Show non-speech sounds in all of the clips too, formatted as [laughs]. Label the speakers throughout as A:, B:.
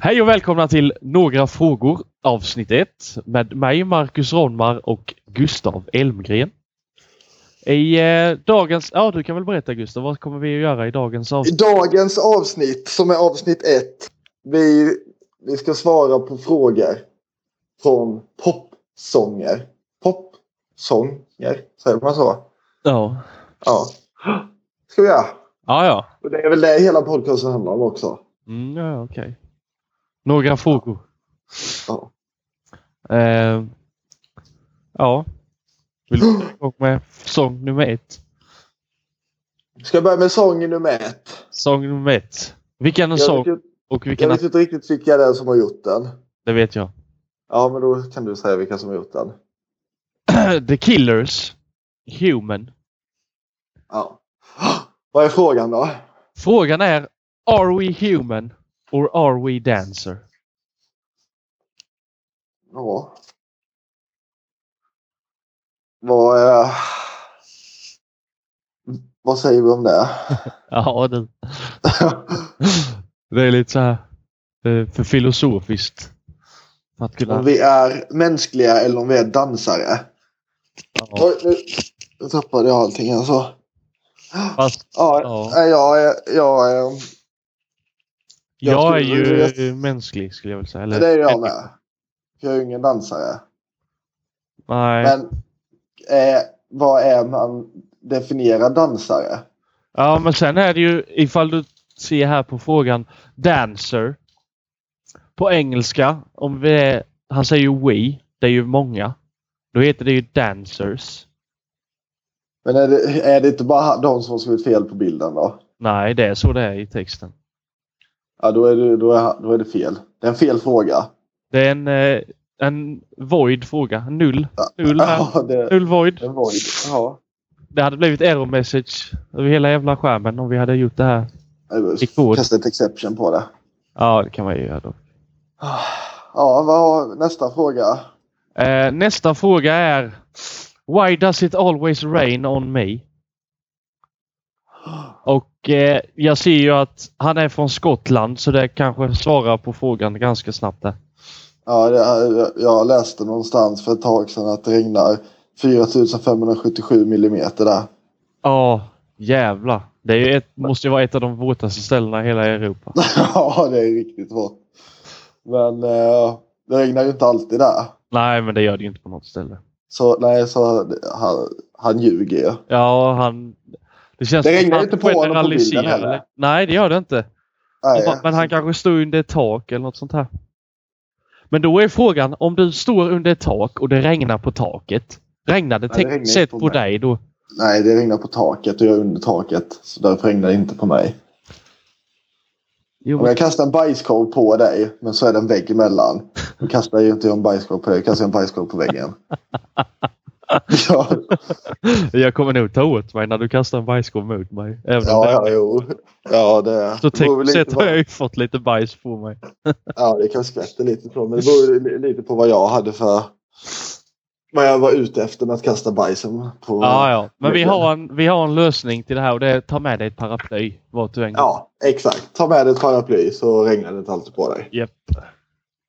A: Hej och välkomna till Några frågor avsnitt 1 med mig Marcus Ronmar och Gustav Elmgren. I eh, dagens... Ja, du kan väl berätta Gustav, vad kommer vi att göra i dagens
B: I
A: avsnitt?
B: dagens avsnitt, som är avsnitt ett, vi, vi ska svara på frågor från popsånger. Popsånger, säger man så?
A: Ja.
B: Ja. Ska vi göra.
A: Ja, ja.
B: Och det är väl det hela podcasten handlar om också.
A: Mm, ja, ja, okej. Några frågor.
B: Ja.
A: Eh, ja. Vill du komma igång med sång nummer ett?
B: Ska jag börja med sång nummer ett?
A: Sång nummer ett. Vilken
B: Jag
A: sång
B: vet, ju,
A: och
B: jag
A: vilken...
B: vet inte riktigt vilka det är som har gjort den.
A: Det vet jag. [clears throat]
B: Ja, men då kan du säga vilka som har gjort den.
A: The Killers. Human.
B: Ja. Vad är frågan då?
A: Frågan är Are we human or are we dancer?
B: Ja. Vad... eh, vad säger vi
A: [laughs]
B: om det?
A: Ja, det, det är lite så här eh, för filosofiskt. För att kunna...
B: om vi är mänskliga eller om vi är dansare?
A: Ja,
B: Oj, nu, nu tappade jag allting alltså.
A: fast
B: Ja,
A: Ja.
B: nej, jag, är- jag, är- jag
A: jag är
B: skulle
A: ju mänsklig skulle jag vilja säga. Eller,
B: det är jag med. Jag är ju ingen dansare.
A: Nej.
B: Men eh, vad är man definierar dansare?
A: Ja, men sen är det ju ifall du ser här på frågan dancer. På engelska, om vi är, han säger ju we, det är ju många. Då heter det ju dancers.
B: Men är det, är det inte bara de som har skrivit fel på bilden då?
A: Nej, det är så det är i texten.
B: Ja, då är det, då är, då är det fel. Det är en fel fråga.
A: Det är en, eh, en void fråga. Null. Null, här.
B: [laughs] Ja, det,
A: Null void.
B: det var ju... Ja.
A: Det hade blivit error message över hela jävla skärmen om vi hade gjort det här. Gick på.
B: Jag kastade ett exception på det.
A: Ja, det kan man ju göra då.
B: Ja, vad har nästa fråga?
A: Eh, nästa fråga är Why does it always rain on me? Och eh, jag ser ju att han är från Skottland så det kanske svarar på frågan ganska snabbt där.
B: Ja, det, jag läste någonstans för ett tag sedan att det regnar 4577 millimeter där. [laughs]
A: Ja, jävlar. Det är ju ett, måste ju vara ett av de våtaste ställena i hela Europa.
B: [laughs] ja, det är riktigt hårt. Men eh, det regnar ju inte alltid där.
A: Nej, men det gör det ju inte på något ställe.
B: Så nej, så han, han ljuger ju.
A: Ja, han... Det, känns
B: Det
A: som att
B: regnar
A: han
B: inte på honom på bilden
A: generaliserar.
B: heller.
A: Nej, det gör det inte.
B: Nej.
A: Men han kanske står under ett tak eller något sånt här. Men då är frågan, om du står under ett tak och det regnar på taket. Regnar det
B: Nej, det regnar
A: tekniskt
B: inte
A: sett
B: på
A: på
B: mig.
A: dig då?
B: nej, det regnar på taket och jag är under taket. Så därför regnar det inte på mig.
A: Jo,
B: Om jag kastar en bajskorv på dig, men så är det en vägg emellan. Då kastar jag ju inte en bajskorv på dig, jag kastar en bajskorv
A: [laughs]
B: på väggen. ja,
A: Jag kommer nog ta åt mig när du kastar en bajskorv mot mig. Även om
B: ja,
A: det,
B: ja, jo. Ja, det...
A: så
B: det beror väl
A: tekniskt
B: lite
A: sett har
B: på-
A: jag ju fått lite bajs på mig.
B: Ja, det kan skvätta lite på. Men det beror li- lite på vad jag hade för... Vad jag var ute efter med att kasta bajsen på...
A: Ja, ja. Men vi
B: Verkligen.
A: har, en, vi har en lösning till det här och det är ta med dig ett paraply vart du än går.
B: Ja, exakt. Ta med dig ett paraply så regnar det inte alltid på dig.
A: Japp.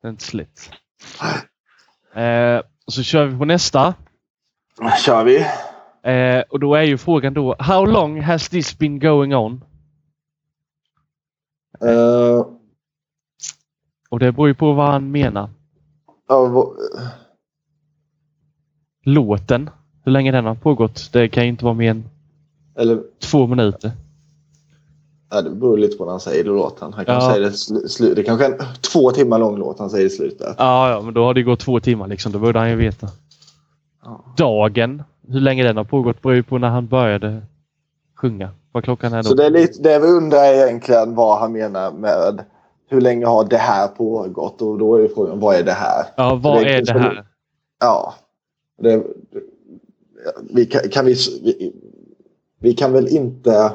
A: Det är inte slut. Eh, så kör vi på nästa.
B: kör vi.
A: Eh, och då är ju frågan då, how long has this been going on?
B: Eh,
A: Och det beror ju på vad han menar.
B: ja, vad-
A: Låten, hur länge den har pågått, det kan ju inte vara mer än
B: eller...
A: två minuter.
B: Ja, det beror lite på när han säger det i låten. Han kan
A: Ja.
B: säga det, sl- slu- det är kanske är en två timmar lång låt han säger i slutet.
A: Ja, ja, men då har det ju gått två timmar liksom. Då borde han ju veta.
B: Ja.
A: Dagen, hur länge den har pågått, beror ju på när han började sjunga. Vad klockan är då.
B: Så det, är lite, det vi undrar är egentligen vad han menar med hur länge har det här pågått? Och då är ju frågan vad är det här?
A: Ja, vad
B: det är
A: är det
B: kanske
A: här?
B: Ja. Det, vi, kan, kan vi, s- vi, vi kan väl inte...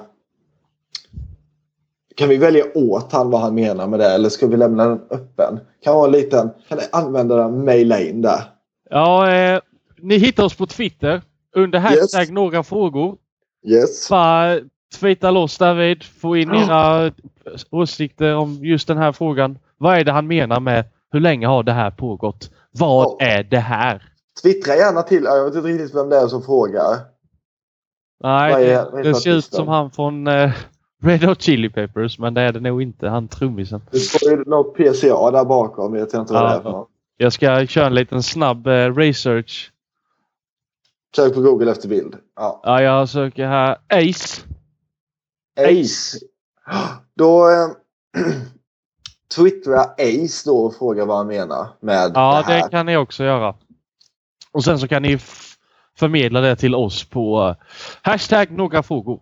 B: Kan vi välja åt han vad han menar med det eller ska vi lämna den öppen? Kan vara en liten... Kan använda den maila in där?
A: Ja, eh, ni hittar oss på Twitter under
B: Yes.
A: hashtag några frågor.
B: Yes.
A: Bara tweeta loss David. Få in era åsikter om just den här frågan. Vad är det han menar med hur länge har det här pågått? Vad
B: Ja.
A: är det här?
B: Twittra gärna till. Jag vet inte riktigt vem det är som frågar.
A: Nej,
B: Vad är-
A: det-
B: vad är
A: det ser ut
B: artisten?
A: som han från eh, [laughs] Red Hot Chili Peppers, men det är det nog inte. Han trummisen.
B: Det står ju något PCA där bakom. Jag vet inte vad det är för
A: Ja.
B: något.
A: Jag ska köra en liten snabb eh, research.
B: Sök på Google efter bild. Ja.
A: Ja, jag söker här. Ace.
B: Ace. Då... Eh, [clears throat] twittra Ace då och fråga vad han menar med
A: Ja,
B: det här.
A: det kan ni också göra. Och sen så kan ni f- förmedla det till oss på eh, hashtag några frågor.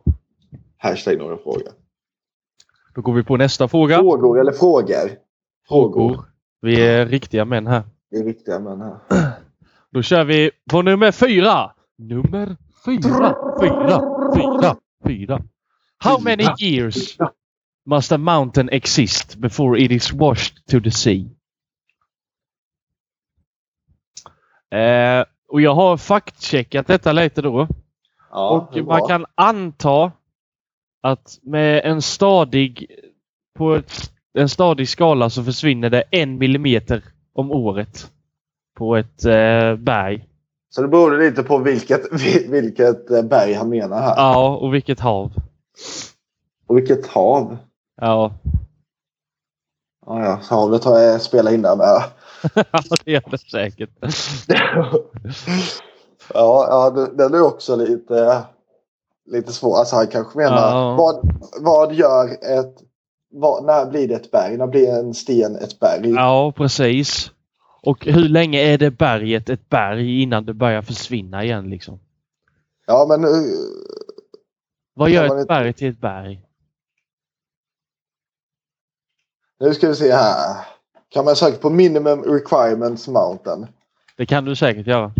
B: Hashtag några frågor.
A: Då går vi på nästa fråga.
B: Frågor eller frågor?
A: Frågor. Oh, Vi är riktiga män här.
B: Det är viktiga män här.
A: Då kör vi på nummer fyra. Nummer fyra, fyra, fyra, fyra. How many years must a mountain exist before it is washed to the sea? Eh, och jag har faktcheckat detta lite då.
B: Ja, det är
A: och
B: bra.
A: man kan anta att med en stadig på ett, en stadig skala så försvinner det en millimeter om året på ett eh, berg.
B: Så det beror lite på vilket, [laughs] vil- vilket eh, berg han menar här.
A: Ja, och vilket hav.
B: Och vilket hav.
A: Ja, [laughs]
B: Ja, ja. så Havet har jag spelat in där med.
A: det gör det säkert.
B: [laughs] ja, ja den, den är också lite, lite svår. Alltså han kanske menar
A: Ja.
B: vad, vad gör ett... Vad, när blir det ett berg? När blir en sten ett berg?
A: Ja, precis. Och hur länge är det berget ett berg innan det börjar försvinna igen liksom?
B: Ja, men... eh,
A: Vad
B: Kan
A: gör
B: man
A: ett
B: inte-
A: berg till ett berg?
B: Nu ska vi se här. Kan man söka på minimum requirements mountain?
A: Det kan du säkert göra.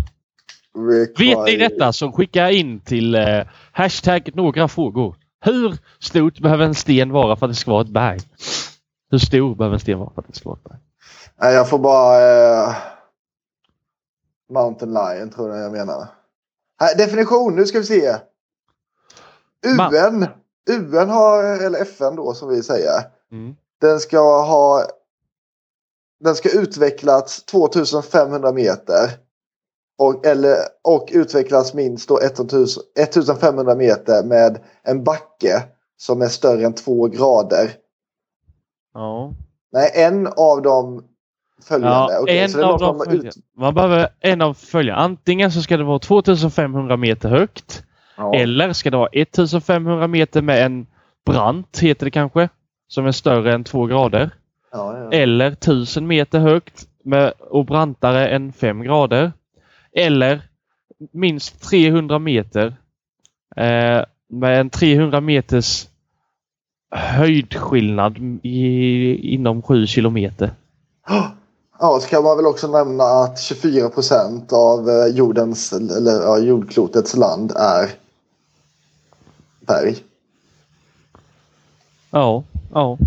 A: Vet
B: Require-
A: ni detta så skicka in till eh, hashtag några frågor. Hur stort behöver en sten vara för att det ska vara ett berg? Hur stor behöver en sten vara för att det ska vara ett berg?
B: Nej, jag får bara... eh, Mountain Lion tror jag jag menar. Här, definition, nu ska vi se.
A: Ma-
B: UN, UN har, eller FN då som vi säger.
A: Mm.
B: Den ska ha... Den ska utvecklats 2500 meter. Och, eller, och utvecklas minst då 1000 1500 meter med en backe som är större än två grader.
A: Ja.
B: Nej, en av dem följande.
A: Ja,
B: Okej,
A: en
B: så det är
A: av
B: någon
A: dem
B: som har ut-
A: följer. Man behöver en av följande. Antingen så ska det vara 2500 meter högt.
B: Ja.
A: Eller ska det vara 1500 meter med en brant, heter det kanske. Som är större än två grader.
B: Ja, ja.
A: Eller 1000 meter högt med, och brantare än 5 grader. Eller minst 300 meter eh, med en 300 meters höjdskillnad i, inom 7 kilometer.
B: ja, så kan man väl också nämna att 24 procent av eh, jordens, eller ja, jordklotets land är berg.
A: Ja, ja.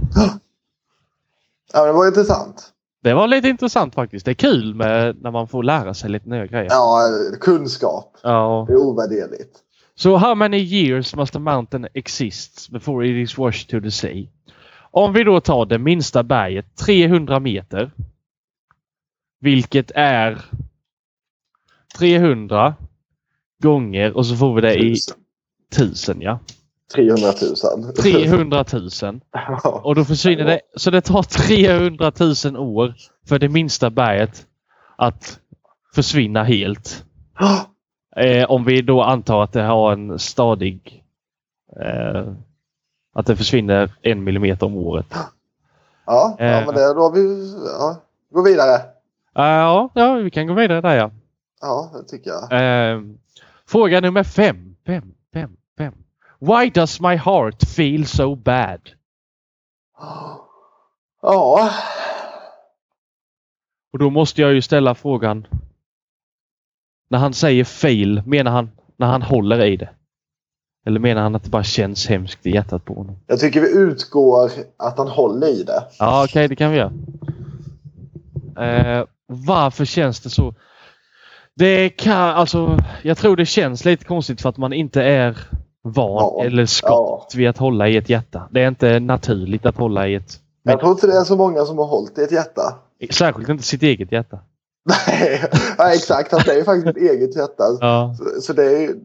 B: Ja, men det var intressant.
A: Det var lite intressant faktiskt. Det är kul med, när man får lära sig lite nya grejer.
B: Ja, eh, kunskap.
A: Ja.
B: Det är ovärderligt.
A: So how many years must a mountain exist before it is washed to the sea? Om vi då tar det minsta berget, 300 meter. Vilket är 300 gånger och så får vi det i 1000 ja.
B: 300 000.
A: 300 000.
B: [laughs] Ja.
A: Och då försvinner det. Så det tar 300 000 år för det minsta berget att försvinna helt. Eh, om vi då antar att det har en stadig... Eh, att det försvinner en millimeter om året.
B: Ja, ja, men det, då har vi... Ja. Gå vidare.
A: Eh, ja, ja, vi kan gå vidare där ja.
B: Ja, det tycker jag.
A: Eh, fråga nummer fem. Fem, fem, fem. Why does my heart feel so bad?
B: Ja.
A: Och då måste jag ju ställa frågan. När han säger feel, menar han när han håller i det? Eller menar han att det bara känns hemskt i hjärtat på honom?
B: Jag tycker vi utgår att han håller i det.
A: Ja, okej, det kan vi göra. Eh, varför känns det så? Det kan, alltså, jag tror det känns lite konstigt för att man inte är van
B: Ja.
A: eller skapt
B: Ja.
A: vid att hålla i ett hjärta. Det är inte naturligt att hålla i ett
B: Jag tror inte det är så många som har hållit i
A: [laughs]
B: ett hjärta.
A: Särskilt inte sitt eget hjärta.
B: Nej, ja, exakt. Alltså, det är ju faktiskt ett eget hjärta.
A: Ja.
B: Så, så det är ju,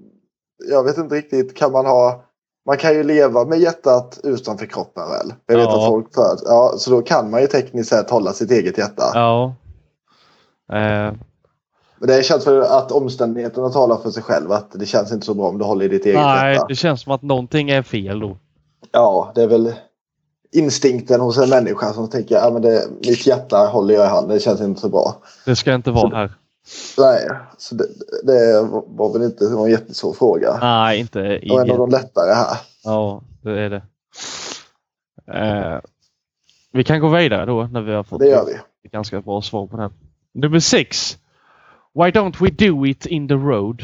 B: Jag vet inte riktigt. Kan man ha... Man kan ju leva med hjärtat utanför kroppen väl? Jag vet
A: Ja.
B: att folk föds. Ja, så då kan man ju tekniskt sett hålla sitt eget hjärta.
A: ja. Eh,
B: Men det känns väl att omständigheterna talar för sig själv. Att det känns inte så bra om du håller i ditt eget
A: nej,
B: hjärta.
A: det känns som att någonting är fel då.
B: Ja, det är väl instinkten hos en människa som tänker att ja, men det- mitt hjärta håller jag i handen. Det känns inte så bra.
A: Det ska inte vara här.
B: Nej, så det, det var väl inte någon jättesvår fråga.
A: Nej, inte
B: Det var en av
A: igen.
B: de lättare här.
A: Ja, det är det. Eh, vi kan gå vidare då när vi har fått
B: Det gör vi.
A: ett ganska bra svar på den. Nummer sex. Why don't we do it in the road?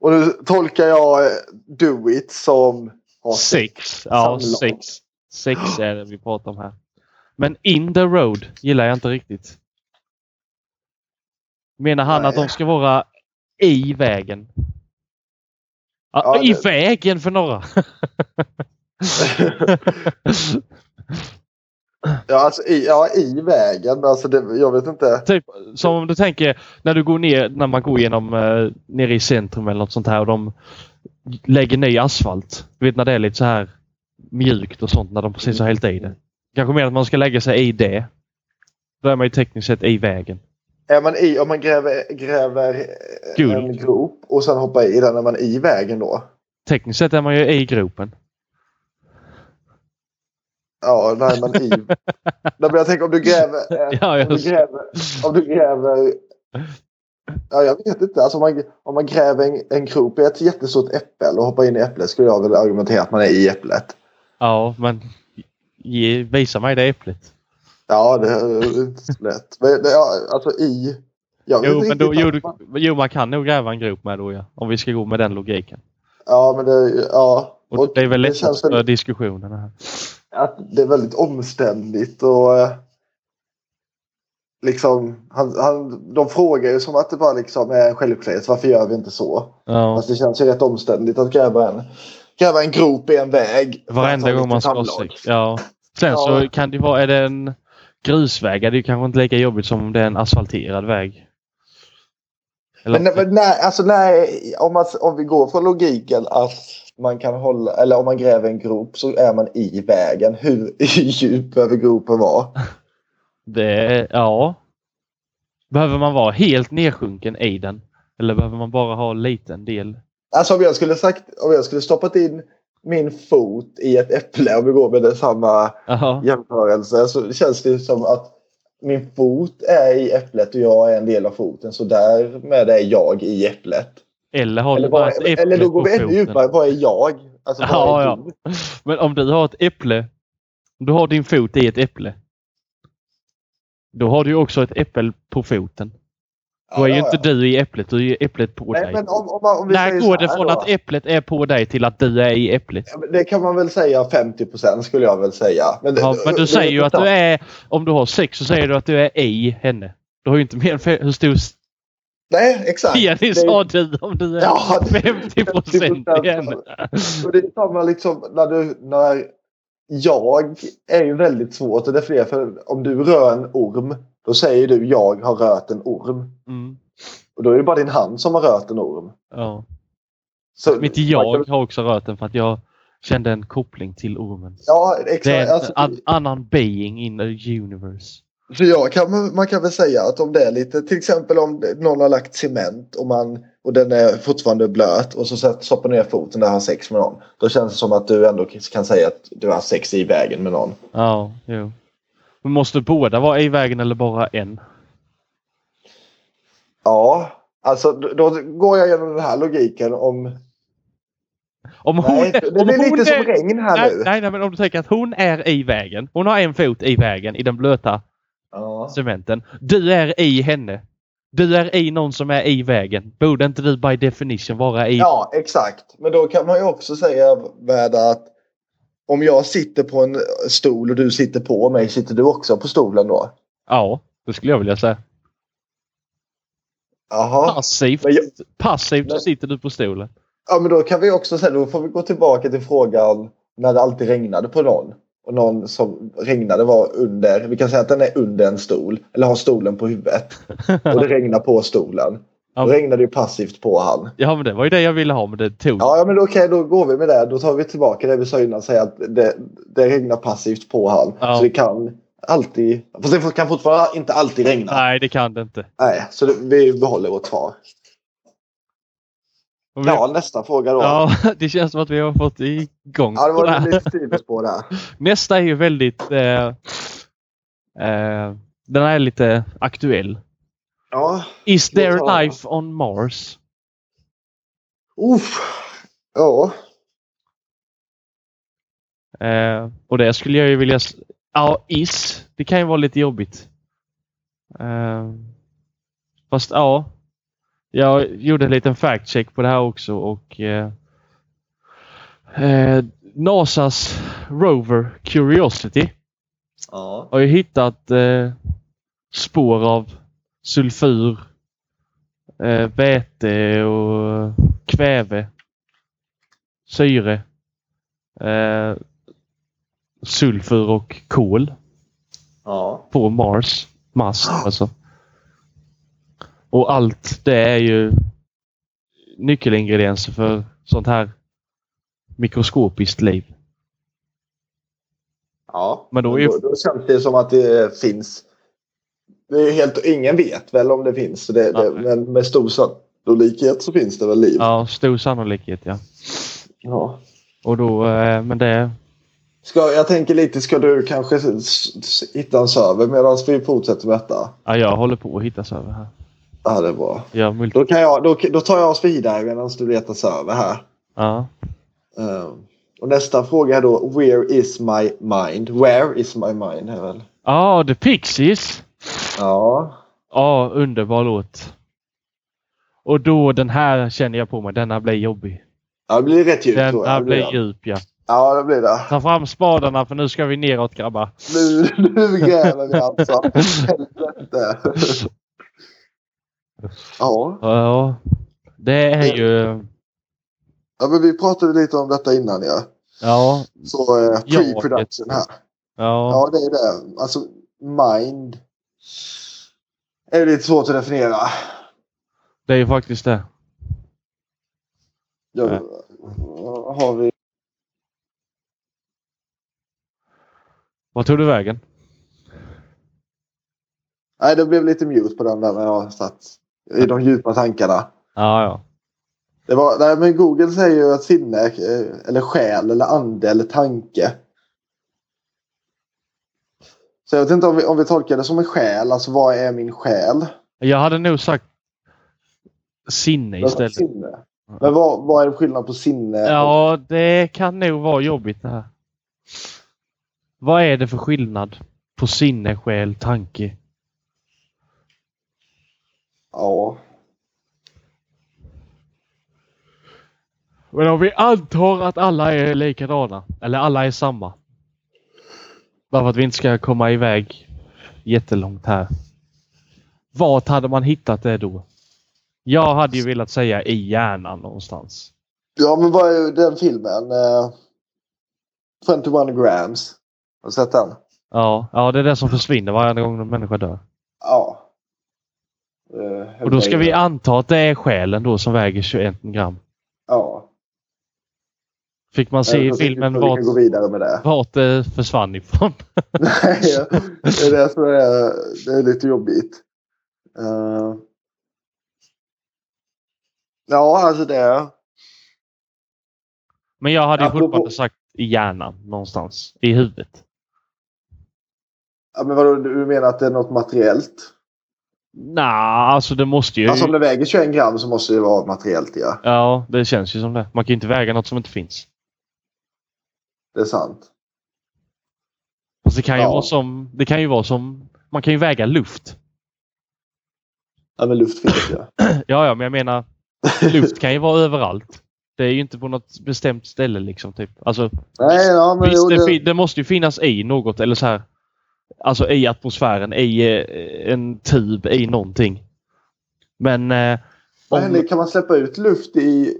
B: Och nu tolkar jag eh, do it som ha sex.
A: Sex. Ja,
B: Samlag.
A: sex. Sex är det vi pratar om här. Men in the road gillar jag inte riktigt. Menar han
B: Nej.
A: att de ska vara i vägen? Ja,
B: Ja,
A: I
B: det-
A: vägen för [laughs]
B: [laughs]
A: några!
B: Ja, alltså i, ja, i vägen. Men Alltså det, jag vet inte.
A: typ som om du tänker när du går ner, när man går genom eh, nere i centrum eller något sånt här och de lägger ny asfalt. Du vet när det är lite så här mjukt och sånt när de precis har hällt i det. Kanske mer att man ska lägga sig i det. Då är man ju tekniskt sett i vägen.
B: Är man i, om man gräver, gräver eh,
A: Gul.
B: en grop och sen hoppar i den, är man i vägen då?
A: Tekniskt sett är man ju i gropen.
B: Ja, nej,
A: [laughs]
B: man i... nej, men jag tänker om du gräver... eh,
A: Ja,
B: Om du
A: jag,
B: gräver... Om du gräver ja, jag vet inte. Alltså, om, man, om man gräver en, en grop i ett jättestort äpple och hoppar in i äpplet skulle jag väl argumentera att man är i äpplet.
A: ja, men ge, visa mig det äpplet.
B: Ja, det är inte så lätt. Men, det- ja, alltså i... Jag vet
A: Jo,
B: inte
A: men då,
B: riktigt
A: jo,
B: vad
A: du,
B: man-
A: jo, man kan nog gräva en grop med då ja. Om vi ska gå med den logiken.
B: Ja, men det... Ja.
A: Och det är väl lättast
B: känns
A: för
B: väl
A: diskussionerna här.
B: att det är väldigt omständigt och... eh, Liksom, han, han, de frågar ju som att det bara liksom är en självklarhet. Varför gör vi inte så?
A: Ja.
B: Fast det känns ju rätt omständigt att gräva en, gräva en grop i en väg. Alltså,
A: Varenda gång man ska ha
B: sig.
A: sex. Ja. Sen så
B: Ja.
A: kan det vara, är det en grusväg är det ju kanske inte lika jobbigt som om det är en asfalterad väg. Eller,
B: Men, men nej, alltså nej, om, man, om vi går från logiken att man kan hålla, eller om man gräver en grop så är man i vägen. Hur [laughs] djup behöver gropen vara?
A: det, ja. Behöver man vara helt nedsjunken i den? Eller behöver man bara ha en liten del?
B: Alltså om jag skulle sagt, om jag skulle stoppat in min fot i ett äpple om vi går med det samma
A: Ja.
B: jämförelse så känns det som att min fot är i äpplet och jag är en del av foten så därmed är jag i äpplet.
A: Eller har
B: Eller,
A: du bara
B: bara,
A: ett äpple
B: eller då går
A: på
B: vi ännu
A: foten?
B: djupare. Vad är jag? Alltså, vad
A: Ja,
B: är
A: ja.
B: du?
A: Men om du har ett äpple. om Du har din fot i ett äpple. Då har du ju också ett äpple på foten. Då är
B: Ja,
A: ju
B: ja,
A: inte
B: ja.
A: du i äpplet, du är ju äpplet på dig.
B: Nej, men om, om, man- om vi
A: När
B: säger
A: går
B: så här
A: det från
B: då?
A: att e- äpplet är på dig till att du är i äpplet?
B: Ja, men Det kan man väl säga 50 procent skulle jag väl säga. det-
A: Ja, men
B: det-
A: du säger ju att
B: det-
A: du är... Om du har sex så säger du att du är i henne. Du har ju inte mer än fe- hur stor
B: Nej, exakt.
A: penis
B: Det är-
A: har du om du är [laughs]
B: Ja, det-
A: 50 procent i henne.
B: Och det är samma liksom när du... När jag är ju väldigt svårt att definiera. För om du rör en orm, då säger du jag har rört en orm.
A: Mm,
B: Och då är det bara din hand som har rört en orm.
A: ja.
B: Så
A: Mitt
B: man kan-
A: jag har också rört den för att jag kände en koppling till ormen.
B: Ja,
A: Det är
B: exakt.
A: en
B: Alltså,
A: an- annan being in the universe.
B: För jag kan, man kan väl säga att om det är lite, till exempel om det- någon har lagt cement och, man, och den är fortfarande blöt och så sätt- stoppar ner foten där och har sex med någon. Då känns det som att du ändå kan säga att du har sex i vägen med någon.
A: Ja, jo. Men måste båda vara i vägen eller bara en?
B: Ja, alltså då då går jag igenom den här logiken om...
A: Om hon,
B: Nej, det
A: om
B: blir
A: hon
B: lite
A: är-
B: som regn här
A: Nej,
B: nu.
A: nej, nej, men om du tänker att hon är i vägen. Hon har en fot i vägen i den blöta
B: Ja.
A: cementen. Du är i henne. Du är i någon som är i vägen. Borde inte du by definition vara i...
B: ja, exakt. Men då kan man ju också säga med att om jag sitter på en stol och du sitter på mig, sitter du också på stolen då?
A: Ja, det skulle jag vilja säga.
B: Jaha.
A: Passivt.
B: Men jag,
A: Passivt
B: Men-
A: sitter du på stolen.
B: Ja, men då kan vi också säga, då får vi gå tillbaka till frågan när det alltid regnade på någon. Och någon som regnade var under. Vi kan säga att den är under en stol. Eller har stolen på huvudet. Och det regnar på stolen.
A: Ja.
B: Då regnade det ju passivt på han.
A: Ja, men det var ju det jag ville ha, men det tog.
B: Ja, ja men då- okej, då går vi med det. Då tar vi tillbaka det vi sa innan. Säga att det, det regnar passivt på han.
A: Ja.
B: Så det kan alltid... Fast det kan fortfarande inte alltid regna. Nej,
A: Nej, det kan det inte.
B: så det, vi behåller vårt svar.
A: Och vi-
B: Ja, nästa fråga då. Ja,
A: ja, [laughs] det känns som att vi har fått igång
B: det
A: på det [laughs] här.
B: var lite tvivel på det. här.
A: Nästa är ju väldigt... Eh, eh, den här är lite aktuell.
B: Ja.
A: Is
B: Låt
A: there
B: höra.
A: life on Mars?
B: Uff. Ja.
A: Eh, och det skulle jag ju vilja... s- Ja, is. Det kan ju vara lite jobbigt. Eh, fast ja. Jag gjorde en liten fact check på det här också och eh, eh, NASAs Rover Curiosity
B: ja.
A: har ju hittat eh, spår av sulfur, eh, väte och kväve, syre, eh, sulfur och kol
B: Ja.
A: på Mars. Mars alltså. Och allt det är ju nyckelingredienser för sånt här mikroskopiskt liv.
B: ja.
A: Men då är ju-
B: då, då känns det som att det finns. Det är helt, ingen vet väl om det finns. så Det, det,
A: Nej.
B: men med stor sannolikhet så finns det väl liv.
A: Ja, stor sannolikhet ja.
B: Ja.
A: Och då, eh, men det...
B: Ska, jag tänker lite, ska du kanske s- s- hitta en server medan vi fortsätter med detta?
A: Ja, jag håller på att hitta server här.
B: Ja, det är bra.
A: Ja, multi-
B: Då, kan jag, då, då tar jag oss vidare medan du letar server här.
A: ja.
B: Ehm, och nästa fråga är då Where is my mind? Where is my mind? Är väl.
A: Ja, The Pixies.
B: Ja.
A: Ja, underbar låt. Och då den här känner jag på mig. Denna blir jobbig.
B: ja, det blir rätt djupt tror jag.
A: Denna
B: Det blir
A: blir
B: det.
A: djup ja.
B: Ja, det blir det.
A: Ta fram spadarna för nu ska vi neråt
B: [laughs]
A: grabbar.
B: Nu, nu gräver vi alltså. Helvete. Ja.
A: Ja, det är ju...
B: ja, men vi pratade lite om detta innan ja.
A: Ja,
B: Så eh,
A: Ja,
B: pre-production här.
A: ja,
B: Ja, det är det. Alltså, mind är lite svårt att definiera.
A: det är ju faktiskt det.
B: Jag,
A: Ja.
B: Har vi...
A: Vad tog du vägen?
B: Nej, det blev lite mute på den där när jag satt i de djupa tankarna.
A: Ja, ja.
B: Det var, nej, men Google säger ju att sinne, eh, eller själ, eller ande, eller tanke. Så jag vet inte om vi, om vi tolkar det som en själ. Alltså, vad är min själ?
A: Jag hade nog sagt sinne istället.
B: Alltså Sinne. Men vad, vad är skillnaden på sinne? och-
A: Ja, det kan nog vara jobbigt det här. Vad är det för skillnad på sinne, själ, tanke?
B: ja.
A: Men om vi antar att alla är likadana, eller alla är samma. Bara för att vi inte ska komma iväg jättelångt här. Vart hade man hittat det då? Jag hade ju velat säga i hjärnan någonstans.
B: Ja, men vad är den filmen? Eh, 21 grams. Har du sett den?
A: Ja, ja det är det som försvinner varje gång en människa dör.
B: Ja. Eh,
A: Och då ska vi anta att det är själen då som väger 21 gram.
B: Ja.
A: Fick man se i
B: Jag tror-
A: filmen
B: jag tror Vi
A: vart,
B: kan gå vidare med det.
A: vart det försvann ifrån.
B: Nej, det är det som är, det är lite jobbigt. Eh, ja, alltså det.
A: Men jag hade ju
B: Apropå-
A: fortfarande sagt i hjärnan någonstans. I huvudet.
B: Ja, men vadå, du menar att det är något materiellt?
A: Nej, alltså det måste ju...
B: Alltså om det väger 21 gram så måste det vara materiellt, ja.
A: Ja, det känns ju som det. Man kan ju inte väga något som inte finns.
B: Det är sant.
A: Fast det kan ju
B: Ja.
A: vara som... Det kan ju vara som... Man kan ju väga luft.
B: Ja, men luft finns ju.
A: Ja, ja, men jag menar... Luft kan ju vara överallt. Det är ju inte på något bestämt ställe liksom. Typ. Alltså,
B: Nej, ja,
A: [laughs]
B: men
A: visst,
B: jo,
A: det, fin- det måste ju finnas i något eller så här. Alltså i atmosfären, i eh, en tub, i någonting. Men... Eh,
B: Vad
A: om-
B: händer, kan man släppa ut luft i,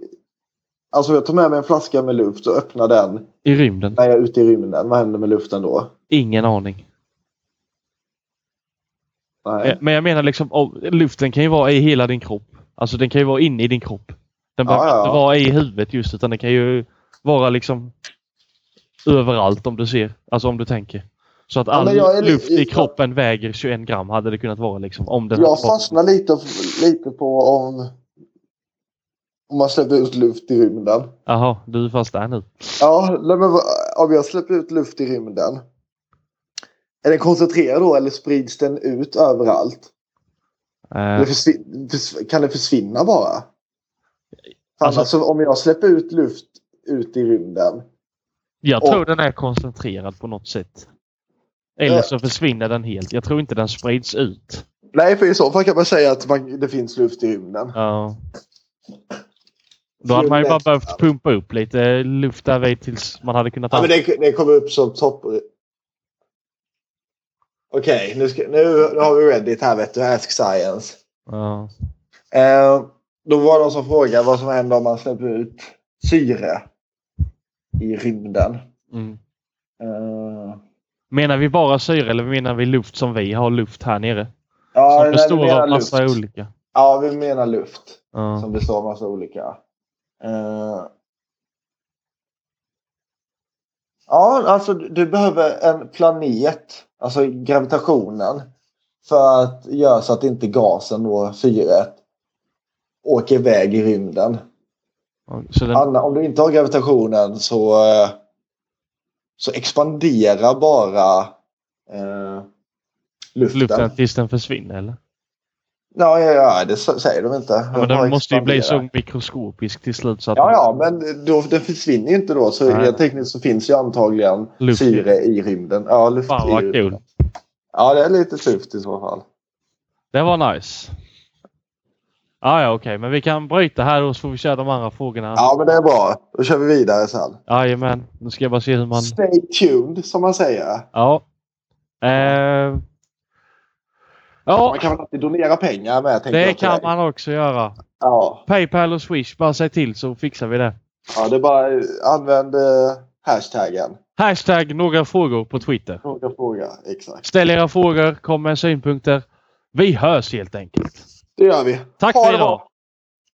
B: Alltså jag tar med mig en flaska med luft och öppnar den
A: I rymden?
B: när jag är ute i rymden. Vad händer med luften då?
A: Ingen aning.
B: Nej.
A: Eh, Men jag menar liksom, om- luften kan ju vara i hela din kropp. Alltså den kan ju vara inne i din kropp. Den
B: Ja,
A: behöver
B: ja,
A: inte
B: ja.
A: vara i huvudet just utan den kan ju vara liksom överallt om du ser. Alltså om du tänker. Så att
B: Ja,
A: all
B: men jag är li-
A: luft i
B: jag-
A: kroppen väger 21 gram hade det kunnat vara liksom. Om den
B: Jag
A: hade varit-
B: fastnar lite, lite på om, om man släpper ut luft i rymden.
A: Jaha, du är fast där nu.
B: Ja, nej, men vad- om jag släpper ut luft i rymden. Är den koncentrerad då eller sprids den ut överallt?
A: Eh,
B: Eller försvin- förs- kan den försvinna bara?
A: Alltså-
B: Alltså, om jag släpper ut luft ut i rymden.
A: jag
B: och-
A: tror den är koncentrerad på något sätt. Eller
B: Eh.
A: så försvinner den helt. Jag tror inte den sprids ut.
B: Nej, för i så fall kan man säga att man, det finns luft i rymden.
A: Ja. Då hade man ju bara behövt pumpa upp lite luft därvid tills man hade kunnat...
B: Ja, men det, det kommer upp som topp... Okej, nu, ska- nu, nu har vi Reddit här vet du. Ask Science.
A: Ja.
B: Eh, då var det någon som frågade vad som händer om man släpper ut syre i rymden.
A: Mm.
B: Eh,
A: Menar vi bara syre eller menar vi luft som vi har luft här nere?
B: ja,
A: som
B: nej, vi
A: består
B: menar
A: av massa
B: luft.
A: olika.
B: Ja, vi menar luft
A: Ja.
B: som består av massa olika. Eh, ja, alltså du behöver en planet, alltså gravitationen, för att göra så att inte gasen och syret åker iväg i rymden.
A: Så den,
B: Anna, om du inte har gravitationen så, eh, så expanderar bara eh, luften.
A: luften tills den försvinner eller?
B: Ja, ja, ja, det s- säger de inte.
A: Ja, men den måste ju bli
B: expanderar.
A: så mikroskopisk till slut så att
B: Ja, ja, men då, den försvinner ju inte då. Så
A: Nej.
B: rent tekniskt så finns ju antagligen
A: Luft.
B: syre i rymden. Ja, luft
A: Fan
B: i
A: vad
B: rymden.
A: kul.
B: Ja, det är lite tufft i så fall.
A: Det var nice. Ah, ja, okej, men vi kan bryta här och så får vi köra de andra frågorna.
B: Ja, men det är bra. Då kör vi vidare sen.
A: Jajamän, nu ska jag bara se hur man...
B: Stay tuned, som man säger.
A: Ja. Eh... Ja,
B: Man kan väl alltid donera pengar med, tänker
A: det
B: jag till
A: kan
B: dig.
A: man också göra.
B: Ja.
A: Paypal och Swish, bara säg till så fixar vi det.
B: Ja, det är bara eh, använd eh, hashtaggen.
A: Hashtag några frågor på Twitter.
B: Fråga, fråga. Exakt.
A: Ställ era frågor, kom med synpunkter. Vi hörs helt enkelt.
B: Det gör vi.
A: Tack
B: Ha
A: för
B: det
A: idag!
B: bra.